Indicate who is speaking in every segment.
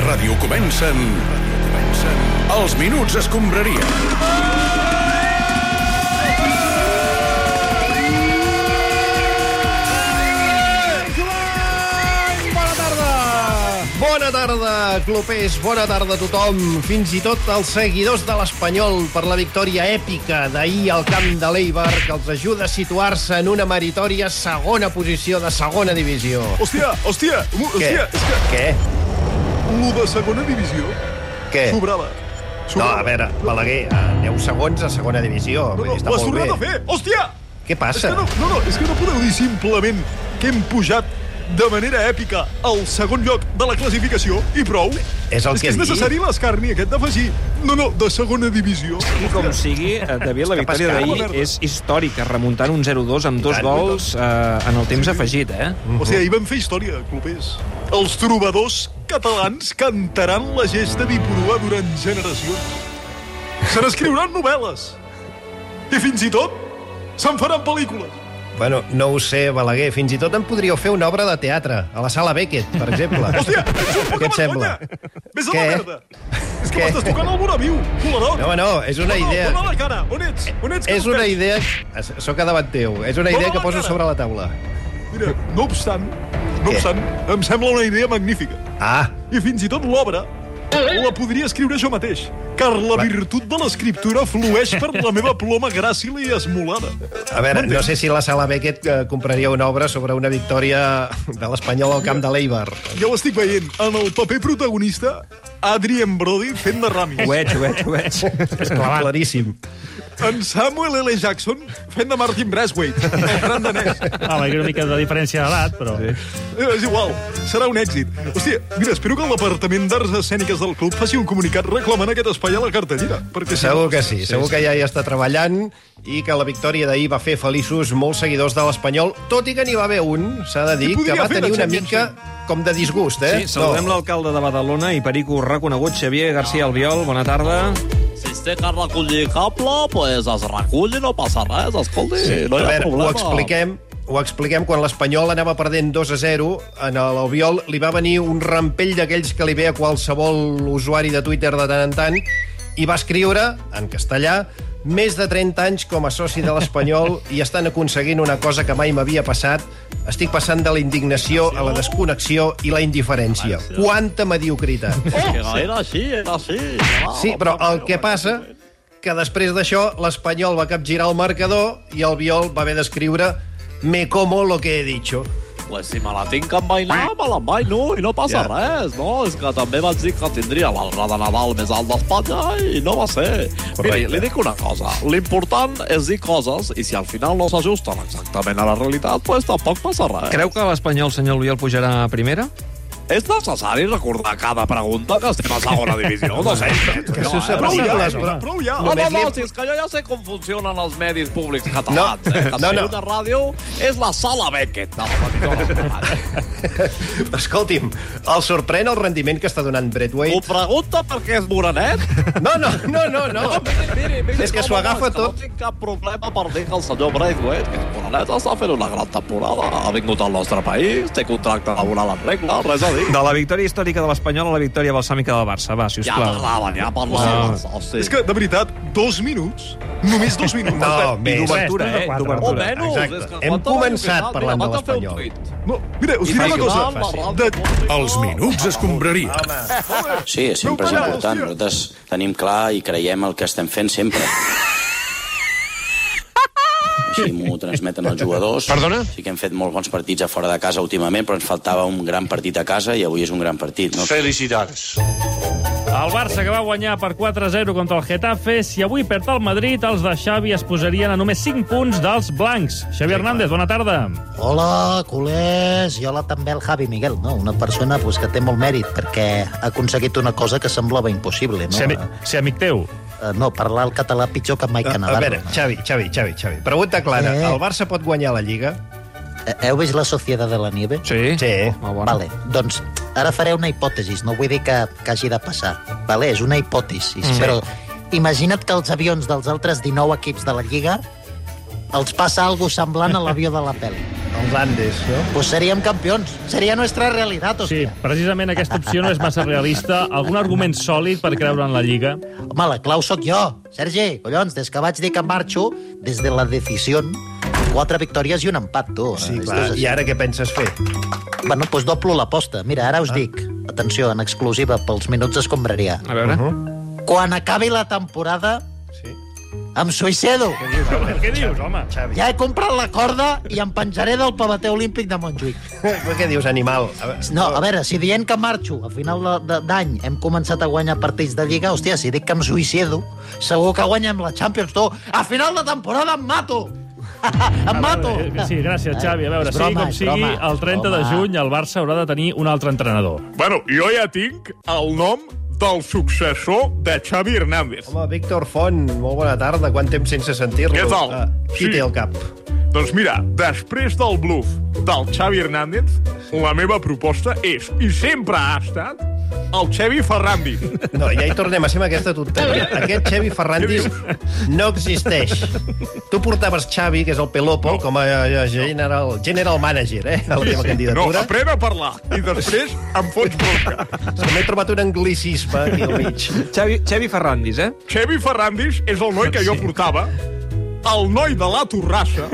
Speaker 1: ràdio comencen... comencen... Els Minuts Escombraria.
Speaker 2: Bona tarda! Bona tarda, clubers, bona tarda a tothom, fins i tot als seguidors de l'Espanyol per la victòria èpica d'ahir al camp de l'Eibar que els ajuda a situar-se en una meritòria segona posició de segona divisió.
Speaker 3: Hòstia, hòstia, mu-
Speaker 2: Què?
Speaker 3: hòstia, és que
Speaker 2: Què?
Speaker 3: lo de segona divisió
Speaker 2: Què?
Speaker 3: sobrava.
Speaker 2: No,
Speaker 3: sobrava.
Speaker 2: a veure, Balaguer, a 10 segons a segona divisió.
Speaker 3: No,
Speaker 2: vull
Speaker 3: no,
Speaker 2: dir, està
Speaker 3: l'has
Speaker 2: molt
Speaker 3: tornat
Speaker 2: bé.
Speaker 3: a fer! Hòstia!
Speaker 2: Què
Speaker 3: És
Speaker 2: passa?
Speaker 3: que no, no, no, és que no podeu dir simplement que hem pujat de manera èpica al segon lloc de la classificació i prou.
Speaker 2: És el
Speaker 3: és
Speaker 2: que
Speaker 3: que és
Speaker 2: dic.
Speaker 3: necessari l'escarni aquest d'afegir. No, no, de segona divisió.
Speaker 4: Sigui com sigui, eh, David, la
Speaker 2: que
Speaker 4: victòria
Speaker 2: Pascal,
Speaker 3: la
Speaker 4: d'ahir
Speaker 3: merda.
Speaker 4: és històrica, remuntant un 0-2 amb dos
Speaker 2: tant.
Speaker 4: gols eh, en el temps afegit, eh?
Speaker 3: O sigui, ahir vam fer història, clubers. Els trobadors catalans cantaran la gesta d'Ipurua durant generacions. Se n'escriuran novel·les. I fins i tot se'n faran pel·lícules.
Speaker 2: Bueno, no ho sé, Balaguer, fins i tot en podríeu fer una obra de teatre, a la sala Beckett, per exemple.
Speaker 3: Hòstia, ets un poc
Speaker 2: Què et sembla?
Speaker 3: Ves a
Speaker 2: Què?
Speaker 3: la merda. És que
Speaker 2: Què?
Speaker 3: m'estàs tocant el bona viu, culerot.
Speaker 2: No, no, és una idea...
Speaker 3: Dóna la cara. On ets? On ets? que
Speaker 2: És
Speaker 3: no et
Speaker 2: una
Speaker 3: veig?
Speaker 2: idea... Sóc a davant teu. És una
Speaker 3: Dóna
Speaker 2: idea que
Speaker 3: la
Speaker 2: poso
Speaker 3: cara.
Speaker 2: sobre la taula.
Speaker 3: Mira, no obstant, no
Speaker 2: Què?
Speaker 3: obstant, em sembla una idea magnífica.
Speaker 2: Ah,
Speaker 3: I fins i tot l'obra la podria escriure jo mateix, car la virtut de l'escriptura flueix per la meva ploma gràcil i esmolada.
Speaker 2: a veure, no sé si la sala Beckett eh, compraria una obra sobre una victòria de l'Espanyol al camp de l'Eibar.
Speaker 3: Ja ho estic veient, en el paper protagonista, Adrien Brody fent de Rami,
Speaker 4: Ho veig, ho veig, ho veig.
Speaker 2: És claríssim.
Speaker 3: en Samuel L. Jackson fent de Martin Braithwaite, el gran danès.
Speaker 5: Home, hi ha una mica de diferència d'edat, però... Sí.
Speaker 3: Eh, És igual, serà un èxit. Hòstia, mira, espero que el Departament d'Arts Escèniques del club faci un comunicat reclamant aquest espai a la cartellera. Perquè si
Speaker 2: Segur
Speaker 3: no-
Speaker 2: que sí, segur que ja hi està treballant i que la victòria d'ahir va fer feliços molts seguidors de l'Espanyol, tot i que n'hi va haver un, s'ha de dir,
Speaker 3: Qui podria
Speaker 2: que va
Speaker 3: fer de
Speaker 2: tenir una
Speaker 3: Champions
Speaker 2: mica com de disgust, eh?
Speaker 4: Sí, saludem
Speaker 2: No.
Speaker 4: l'alcalde de Badalona i perico reconegut, Xavier García Albiol. Bona tarda.
Speaker 6: Si es té que recollir cable, pues es recull i no passa res, escolti, sí, no
Speaker 2: A
Speaker 6: hi ha
Speaker 2: veure, ho
Speaker 6: problema.
Speaker 2: expliquem, ho expliquem quan l'Espanyol anava perdent 2 a 0, en l'Albiol li va venir un rampell d'aquells que li ve a qualsevol usuari de Twitter de tant en tant, i va escriure, en castellà, més de 30 anys com a soci de l'Espanyol i estan aconseguint una cosa que mai m'havia passat. Estic passant de la indignació a la desconnexió i la indiferència. Quanta mediocritat!
Speaker 6: Oh, que no era així, era així. No,
Speaker 2: Sí, però el que passa que després d'això l'Espanyol va capgirar el marcador i el Biol va haver d'escriure me como lo que he dicho.
Speaker 6: Pues si me la tinc que envainar, me l'envaino i no passa
Speaker 2: Ja.
Speaker 6: res, no? És que també vaig dir que tindria l'arbre de Nadal més alt d'Espanya i no va ser. Miri,
Speaker 2: Correcte.
Speaker 6: li dic una cosa. L'important és dir coses i si al final no s'ajusten exactament a la realitat, pues tampoc passa res.
Speaker 4: Creu que l'Espanyol, senyor Albiol, pujarà a primera?
Speaker 6: És necessari recordar cada pregunta que estem a segona divisió. No sé.
Speaker 2: Que això és
Speaker 3: Prou ja,
Speaker 2: Les-
Speaker 3: eh? prou ja.
Speaker 6: No, no,
Speaker 2: Només li-
Speaker 6: no, si és que jo ja sé com funcionen els medis públics catalans.
Speaker 2: No,
Speaker 6: eh? Que
Speaker 2: no,
Speaker 6: no,
Speaker 2: no.
Speaker 6: no. de ràdio és la sala Beckett. De la petitona.
Speaker 2: Escolti'm, el sorprèn el rendiment que està donant
Speaker 6: Ho
Speaker 2: Braithwaite?
Speaker 6: pregunta perquè és morenet?
Speaker 2: No, no, no, no, no.
Speaker 6: Miri, miri, miri,
Speaker 2: És que s'ho
Speaker 6: no, no,
Speaker 2: agafa
Speaker 6: és que
Speaker 2: tot.
Speaker 6: No tinc cap problema per dir que el senyor Braithwaite, que és morenet, està fent una gran temporada. Ha vingut al nostre país, té contracte laboral en regla, res a dir.
Speaker 4: De la victòria històrica de l'Espanyol a la victòria balsàmica del Barça. Va,
Speaker 6: Ja
Speaker 4: sisplau.
Speaker 6: parlaven, ja
Speaker 2: Ah.
Speaker 6: parlaven. Hosti.
Speaker 3: És que, de veritat, dos minuts, només dos minuts.
Speaker 2: No, més.
Speaker 4: D'obertura,
Speaker 5: Tres,
Speaker 4: eh?
Speaker 5: quatre.
Speaker 6: O
Speaker 4: D'obertura.
Speaker 6: menys.
Speaker 2: Exacte.
Speaker 6: És que
Speaker 2: Hem
Speaker 6: falta una
Speaker 2: començat
Speaker 6: miqueta,
Speaker 2: parlant de
Speaker 6: mira, vaig a fer un
Speaker 2: l'Espanyol.
Speaker 6: tuit.
Speaker 3: No, mira, us diré una cosa. De...
Speaker 1: Els Minuts Escombraria.
Speaker 7: Sí, sempre és important. Nosaltres tenim clar i creiem el que estem fent sempre. Així m'ho transmeten els jugadors. Perdona? Sí que hem fet molt bons partits a fora de casa últimament, però ens faltava un gran partit a casa i avui és un gran partit. No?
Speaker 5: El Barça, que va guanyar per 4-0 contra el Getafe, si avui perd el Madrid, els de Xavi es posarien a només 5 punts dels blancs. Xavi Hernández, bona tarda.
Speaker 8: Hola, culers, i hola també al Javi Miguel, no? una persona pues, que té molt mèrit perquè ha aconseguit una cosa que semblava impossible. No,
Speaker 5: Ser, ami ser amic teu.
Speaker 8: Eh, no parlar el català pitjor que Mike
Speaker 2: A
Speaker 8: Canavarro.
Speaker 2: veure, Xavi, Xavi, Xavi, Xavi. Pregunta clara,
Speaker 8: Eh?
Speaker 2: el Barça pot guanyar la Lliga?
Speaker 8: Eh, Heu vist la Sociedad de la Nieve?
Speaker 4: Sí?
Speaker 2: Sí.
Speaker 4: Molt bona.
Speaker 8: Vale, doncs ara faré una hipòtesi, no vull dir que, que hagi de passar. Vale, és una hipòtesi, mm. però imagina't que els avions dels altres 19 equips de la Lliga els passa algo semblant a l'avió de la pel·li.
Speaker 2: Els Andes, no?
Speaker 8: Pues seríem campions. Seria nuestra realitat,
Speaker 5: Sí,
Speaker 8: hòstia.
Speaker 5: precisament aquesta opció no és massa realista. Algun argument sòlid per creure en la Lliga?
Speaker 8: Sí. Home, la clau sóc jo. Sergi, collons, des que vaig dir que marxo, des de la decisió, quatre victòries i un empat, tu.
Speaker 2: Sí,
Speaker 8: És
Speaker 2: clar.
Speaker 8: dos a
Speaker 2: I ara què penses fer?
Speaker 8: Bueno, doncs doblo l'aposta. Mira,
Speaker 5: Ah.
Speaker 8: ara us dic, atenció, en exclusiva pels Minuts d'Escombraria.
Speaker 4: A veure.
Speaker 8: Quan acabi la temporada,
Speaker 2: Sí.
Speaker 8: em suïcido.
Speaker 5: Què dius, home?
Speaker 2: Xavi,
Speaker 8: Ja he comprat la corda i em penjaré del pavater olímpic de Montjuïc.
Speaker 2: però què dius, animal? A veure,
Speaker 8: No, a veure, si dient que marxo a final de- de- d'any hem començat a guanyar partits de Lliga, hòstia, si dic que em suïcido, segur que guanyem la Champions, tu. A final de temporada em mato! em mato!
Speaker 5: Eh, Sí, gràcies, Xavi. A veure,
Speaker 8: Eh, És
Speaker 5: sigui
Speaker 8: broma,
Speaker 5: com
Speaker 8: és
Speaker 5: sigui,
Speaker 8: broma.
Speaker 5: el 30 de
Speaker 8: Broma.
Speaker 5: juny el Barça haurà de tenir un altre entrenador.
Speaker 9: Bueno, jo ja tinc el nom del successor de Xavi Hernández.
Speaker 2: Home, Víctor Font, molt bona tarda. Quant temps sense sentir-lo.
Speaker 9: Què tal?
Speaker 2: Ah, qui
Speaker 9: Sí.
Speaker 2: té el cap?
Speaker 9: Doncs mira, després del bluff del Xavi Hernández, la meva proposta és, i sempre ha estat, el Xavi Ferrandi.
Speaker 2: No, ja hi tornem a ser amb aquesta tonteria. Aquest Xavi Ferrandis no existeix. Tu portaves Xavi, que és el Pelopo, com a eh, general, general manager, eh, a la teva
Speaker 9: No,
Speaker 2: candidatura.
Speaker 9: apren a parlar i després em fots bronca.
Speaker 2: Se M'he trobat un anglicisme aquí al mig.
Speaker 4: Xavi, Xavi Ferrandis, eh?
Speaker 9: Xavi Ferrandis és el noi que jo portava, el noi de la Torrassa,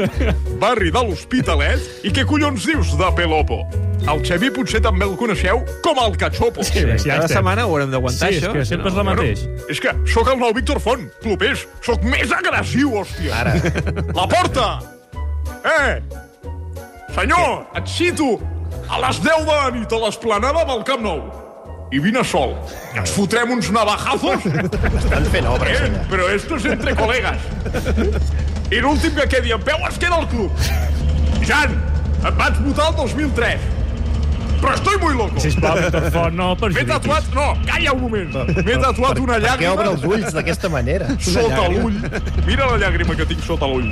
Speaker 9: barri de l'Hospitalet, i què collons dius de Pelopo? El Xavi potser també el coneixeu com el Cachopo. Sí,
Speaker 5: sí,
Speaker 4: Cada
Speaker 5: estem.
Speaker 4: setmana ho haurem d'aguantar,
Speaker 5: Sí, és
Speaker 4: això.
Speaker 5: que sempre és la mateix.
Speaker 9: És que sóc el nou Víctor Font, clopers. Sóc més agressiu, hòstia.
Speaker 2: Ara.
Speaker 9: La porta! Eh! Senyor, et cito a les 10 de la nit a l'esplanada del Camp Nou. I vine sol.
Speaker 2: Ah.
Speaker 9: Ens fotrem uns navajazos.
Speaker 2: Estan fent obres,
Speaker 9: Eh,
Speaker 2: allà.
Speaker 9: però esto es entre colegas. I l'últim que quedi en peu es queda al club. Jan, et vaig votar el 2003. Però estoy muy loco.
Speaker 5: Sisplau, Víctor Font, no
Speaker 9: M'he
Speaker 5: perjudiquis.
Speaker 9: tatuat... No, calla un moment. M'he tatuat
Speaker 2: Per
Speaker 9: una
Speaker 2: què
Speaker 9: llàgrima
Speaker 2: obre els ulls d'aquesta manera?
Speaker 9: sota l'ull. Mira la llàgrima que tinc sota l'ull.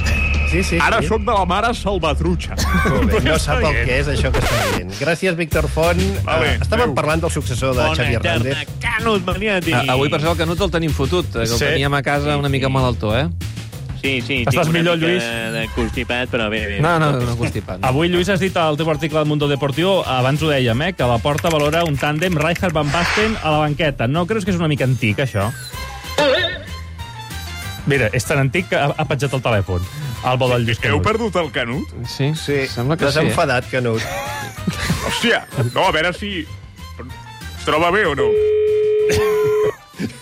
Speaker 2: Sí, sí.
Speaker 9: Ara
Speaker 2: sí.
Speaker 9: sóc eh. de la mare salvatrucha.
Speaker 2: Molt bé, No sap el que és això que està dient. Gràcies, Víctor Font.
Speaker 9: Vale,
Speaker 2: Eh, Estàvem
Speaker 9: adéu.
Speaker 2: parlant del successor de Xavi Hernández.
Speaker 5: Canut, venia a dir.
Speaker 4: A- Avui, per això, el Canut el tenim fotut, eh, que el
Speaker 2: Sí.
Speaker 4: teníem a casa una mica malaltó, eh?
Speaker 10: Sí, sí,
Speaker 5: Estàs
Speaker 10: tinc una
Speaker 5: millor,
Speaker 10: mica
Speaker 5: Lluís?
Speaker 10: de constipat, però bé, bé.
Speaker 4: No, no, no constipat. No.
Speaker 5: Avui, Lluís, has dit al teu article del Mundo Deportivo, abans ho dèiem, eh, que la porta valora un tàndem Rijkaard Van Basten a la banqueta. No creus que és una mica antic, això? Mira, és tan antic que ha, ha petjat el telèfon. El vol del Lluís
Speaker 9: Heu
Speaker 5: Canut.
Speaker 9: perdut el Canut?
Speaker 4: Sí, sí. sembla que
Speaker 2: T'has
Speaker 4: sí. eh?
Speaker 2: enfadat, Canut.
Speaker 9: Hòstia, no, a veure si... Es troba bé o no?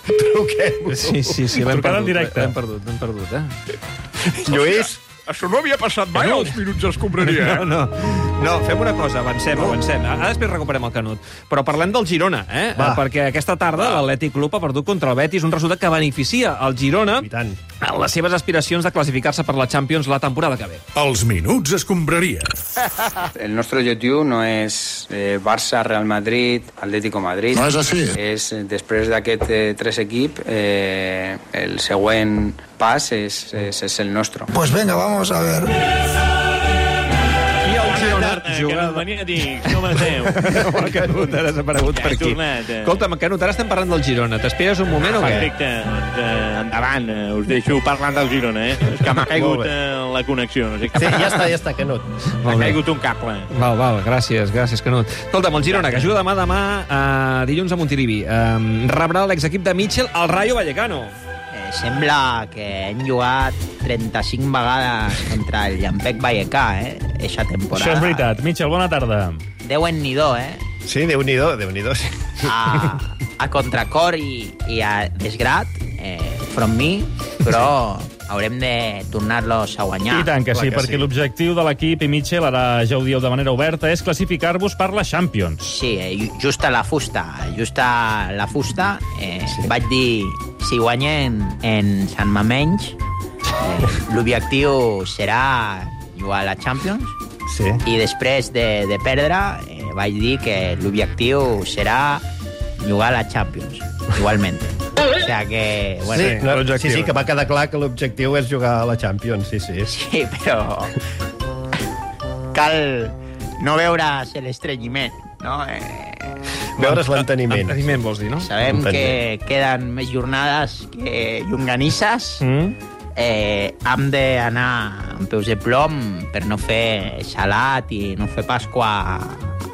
Speaker 2: Truquem-ho.
Speaker 4: Sí, sí, sí, l'hem
Speaker 5: Trucada
Speaker 4: perdut. eh?
Speaker 5: en directe.
Speaker 4: L'hem perdut, l'hem perdut, eh?
Speaker 2: Lluís,
Speaker 9: Això no havia passat mai als minuts d'escombraria, eh?
Speaker 4: No, no. No, fem una cosa, avancem, avancem. Ara després recuperem el Canut. Però parlem del Girona, eh?
Speaker 2: Va.
Speaker 4: Eh, Perquè aquesta tarda l'Atlètic Club ha perdut contra el Betis un resultat que beneficia el Girona
Speaker 2: i tant.
Speaker 4: en les seves aspiracions de classificar-se per la Champions la temporada que ve.
Speaker 1: Els minuts escombraria.
Speaker 11: El nostre objectiu no és eh, Barça, Real Madrid, Atlético Madrid. No és així. És, eh, després d'aquest eh, tres equip, eh, el següent pas és, és, és el nostre.
Speaker 1: Pues venga, vamos a ver.
Speaker 4: I el Girona
Speaker 10: Bona tarda,
Speaker 4: juga...
Speaker 10: Canut Maniàtic, com esteu?
Speaker 4: Home, Canut, ara has aparegut
Speaker 10: Ja
Speaker 4: per
Speaker 10: he
Speaker 4: aquí.
Speaker 10: tornat, eh.
Speaker 4: Escolta'm, Canut, ara estem parlant del Girona. T'esperes un moment
Speaker 5: Ah,
Speaker 4: o què?
Speaker 10: Perfecte, doncs eh, endavant, eh, us deixo parlant del Girona, eh? És que m'ha
Speaker 2: Molt
Speaker 10: caigut
Speaker 2: bé.
Speaker 10: eh, la connexió, no sé
Speaker 2: Sí,
Speaker 10: què.
Speaker 2: ja està, ja està, Canut.
Speaker 10: M'ha
Speaker 4: Molt bé.
Speaker 10: caigut un cable.
Speaker 4: Val, val, gràcies, gràcies, Canut. Escolta'm, el Girona, que juga demà, demà, eh, dilluns a Montilivi, eh, rebrà l'exequip de Mitchell al Rayo Vallecano.
Speaker 11: Eh, sembla que hem jugat 35 vegades contra el Llampec Vallecà, eh? Eixa temporada.
Speaker 5: Això és veritat. Mitchell, bona tarda.
Speaker 11: Deuen nhi eh?
Speaker 2: Sí, Déu-n'hi-do, Déu-n'hi-do. Sí.
Speaker 11: a, a contracor i, i a desgrat eh, from mi, però haurem de tornar-los a
Speaker 10: Ah,
Speaker 11: guanyar.
Speaker 5: I tant que
Speaker 2: clar
Speaker 5: sí,
Speaker 2: que
Speaker 5: perquè
Speaker 2: sí.
Speaker 5: l'objectiu de l'equip i Mitchell, ara ja ho dieu de manera oberta, és classificar-vos per la Champions.
Speaker 11: Sí, eh, ju- just a la fusta, just a la fusta. Eh, sí. Vaig dir, si guanyen en Sant Mamenys, eh, l'objectiu serà jugar a la Champions
Speaker 2: sí.
Speaker 11: i després de, de perdre eh, vaig dir que l'objectiu serà jugar a la Champions, igualment. O sea que, bueno,
Speaker 2: sí, no, sí, sí, que va quedar clar que l'objectiu és jugar a la Champions, sí, sí.
Speaker 11: Sí, però... Cal no veure's l'estrenyiment, no? Eh,
Speaker 2: Veure's l'enteniment.
Speaker 4: Enteniment, vols dir, no?
Speaker 11: sabem
Speaker 2: Entenem.
Speaker 11: que queden més jornades que llonganisses.
Speaker 4: Mm?
Speaker 12: eh, hem d'anar amb peus de plom per no fer xalat i no fer Pasqua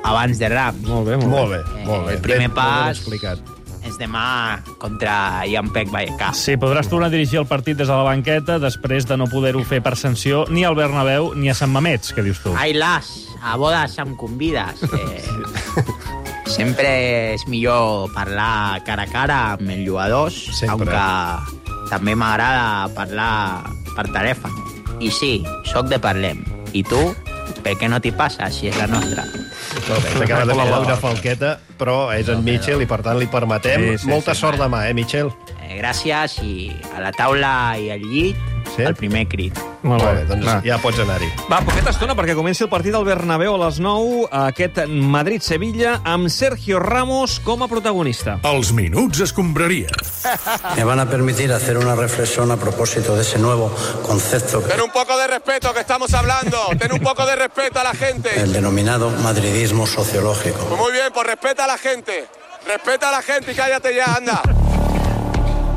Speaker 12: abans de Rams. Molt bé,
Speaker 2: Molt bé, molt bé.
Speaker 12: El primer
Speaker 2: ben, Molt ben
Speaker 12: pas
Speaker 2: explicat.
Speaker 12: és demà contra Iampec
Speaker 10: Ah.
Speaker 12: Vallecà.
Speaker 5: Sí, podràs tornar a dirigir el partit des de la banqueta després de no poder-ho fer per sanció ni al Bernabéu ni a Sant Mamets, que dius tu.
Speaker 10: Ah,
Speaker 12: Ai, las, a bodes em convides. Eh, sempre és millor parlar cara a cara amb els jugadors, sempre. aunque també m'agrada parlar per telèfon. I sí, sóc de Parlem. I tu, per què no t'hi passes, si és la nostra?
Speaker 2: Molt bé, S'ha quedat amb la Laura Falqueta, però és en Mitchell i, per tant, li permetem.
Speaker 12: Sí, sí,
Speaker 2: Molta
Speaker 12: sí.
Speaker 2: sort demà, eh, Mitchell?
Speaker 12: Eh, gràcies, i a la taula i al llit, sí? el primer crit.
Speaker 2: Molt bé, doncs
Speaker 4: Va.
Speaker 2: ja pots anar-hi.
Speaker 4: Va, poqueta estona perquè comenci el partit al Bernabéu a les 9, aquest Madrid-Sevilla, amb Sergio Ramos com a protagonista. Els minuts es compraria.
Speaker 13: Me van a permitir hacer una reflexión a propósito de ese nuevo concepto,
Speaker 14: Ten un poco de respeto que estamos hablando. Ten un poco de respeto a la gente.
Speaker 13: el denominado madridismo sociológico.
Speaker 14: Pues muy bien, pues respeta a la gente. Respeta a la gente y cállate ya, anda.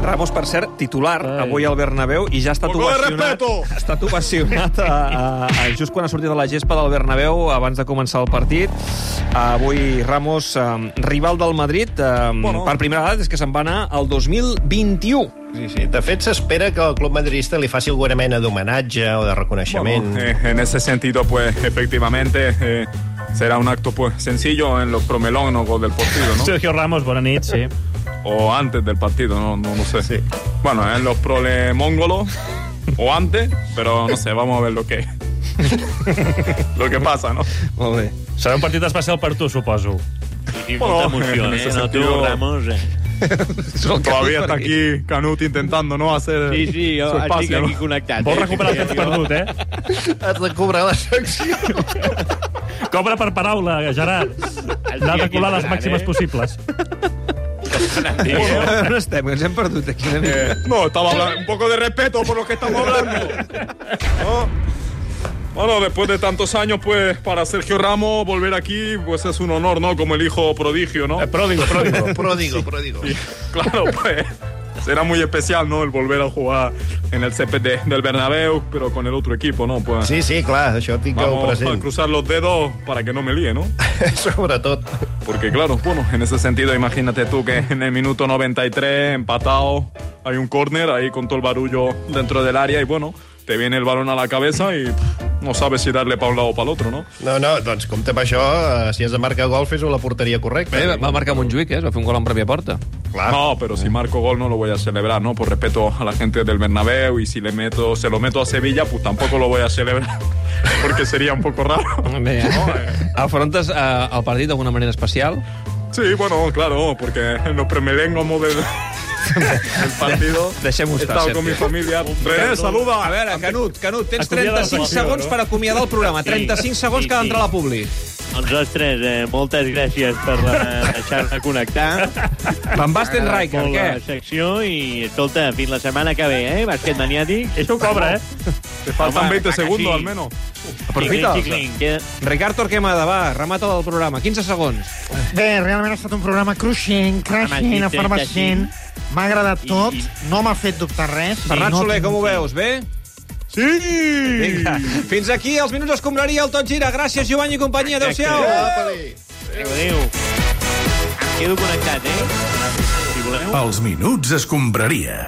Speaker 4: Ramos, per cert, titular Ai. avui al Bernabéu i ja ha estat ovacionat, ha estat ovacionat a, a, a, just quan ha sortit de la gespa del Bernabéu abans de començar el partit. Avui Ramos, eh, rival del Madrid, eh, bueno. per primera vegada des que se'n va anar al 2021.
Speaker 2: Sí, sí. De fet, s'espera que el club madridista li faci alguna mena d'homenatge o de reconeixement.
Speaker 15: Eh, en ese sentido, pues efectivamente eh, será un acto pues sencillo en los promelónogos del partido, ¿no?
Speaker 5: Sergio Ramos, bona nit, sí.
Speaker 15: O antes del partido, no, no, no sé. Bueno, en los prolemóngolos o antes, pero no sé, vamos a ver lo que, lo que pasa, ¿no?
Speaker 4: Molt bé.
Speaker 5: Serà un partit especial per tu, suposo. Oh.
Speaker 15: I molta emoció, eh? No, tu, Ramos, Todavía está aquí Canut intentando no hacer
Speaker 10: Sí, sí, jo
Speaker 15: su
Speaker 10: estic
Speaker 15: espacio.
Speaker 10: aquí
Speaker 15: ¿no?
Speaker 10: connectat, Vol eh? recuperar el temps
Speaker 5: Perdut, eh?
Speaker 2: Has de cobrar la secció.
Speaker 5: Cobra per paraula, Gerard. L'ha de colar les
Speaker 4: Gerard,
Speaker 5: màximes
Speaker 4: eh?
Speaker 5: possibles.
Speaker 4: Bueno,
Speaker 15: eh.
Speaker 4: on estem? Ens hem perdut aquí una mica.
Speaker 15: No, estaba hablando un poco de respeto por lo que estamos hablando. ¿no? Bueno, después de tantos años, pues para Sergio Ramos volver aquí, pues es un honor, ¿no? Como el hijo prodigio, ¿no?
Speaker 2: pródigo, pródigo, pródigo, pródigo.
Speaker 15: claro, pues será muy especial, ¿no? El volver a jugar en el césped de- del Bernabéu, pero con el otro equipo, ¿no? Pues
Speaker 2: Sí, sí, clar, això tingueu
Speaker 15: vamos a
Speaker 2: present.
Speaker 15: cruzar los dedos para que no me líe, ¿no?
Speaker 2: Sobre todo.
Speaker 15: Porque claro, bueno, en ese sentido, imagínate tú que en el minuto 93, empatado, hay un córner ahí con todo el barullo dentro del área y bueno, te viene el balón a la cabeza y pff, no sabes si darle para un lado o para el otro, ¿no?
Speaker 2: No, no, doncs compte amb això, eh, si has de marcar gol, fes-ho a la porteria correcta.
Speaker 15: Bé, va- va
Speaker 4: marcar Montjuïc, eh? Es va fer un gol en pròpia porta.
Speaker 15: No, pero si marco gol no lo voy a celebrar, ¿no? Por respeto a la gente del Bernabéu y si le meto, se lo meto a Sevilla, pues tampoco lo voy a celebrar porque sería un poco raro.
Speaker 4: Bé, afrontes eh, el partit d'alguna manera especial?
Speaker 15: Sí, bueno, claro, porque nos premelengamos del, del partido.
Speaker 4: Deixem-ho
Speaker 15: He
Speaker 4: estar,
Speaker 15: estado con
Speaker 4: Sergio.
Speaker 15: mi familia. René, saluda.
Speaker 4: A veure, Canut, Canut, tens
Speaker 10: Eh, Acomiada la
Speaker 4: 35
Speaker 10: secció,
Speaker 4: segons
Speaker 10: no?
Speaker 4: per acomiadar el programa.
Speaker 10: Sí.
Speaker 4: 35 segons
Speaker 10: Sí,
Speaker 4: que ha d'entrar
Speaker 10: sí.
Speaker 4: la Publi.
Speaker 10: Doncs, ostres, eh, moltes gràcies per eh, deixar-me connectar.
Speaker 4: Van Basten
Speaker 10: M'agrada
Speaker 4: Riker,
Speaker 10: molt
Speaker 4: què?
Speaker 10: La secció i, escolta, fins la setmana que ve, eh? Bàsquet maniàtic.
Speaker 5: Això ho cobra, eh?
Speaker 15: Te faltan 20 segundos, al menos.
Speaker 4: Aprofita'ls.
Speaker 10: Xiclin, xiclin, que-
Speaker 4: Ricard Torquemada, va, remata del programa. 15 segons.
Speaker 8: Bé, realment ha estat un programa cruixent, creixent,
Speaker 4: Home, sí,
Speaker 8: efervescent. M'ha agradat tot, no m'ha fet dubtar res.
Speaker 4: Ferran
Speaker 8: no
Speaker 4: Soler,
Speaker 8: tinc-
Speaker 4: com ho veus? Bé? Sí! Vinga, fins aquí els Minuts Escombraria, el Tot Gira. Gràcies, Joan i companyia. Adéu-siau.
Speaker 10: Adéu, adéu. Em quedo connectat, eh? Si voleu.
Speaker 1: Els minuts escombraria.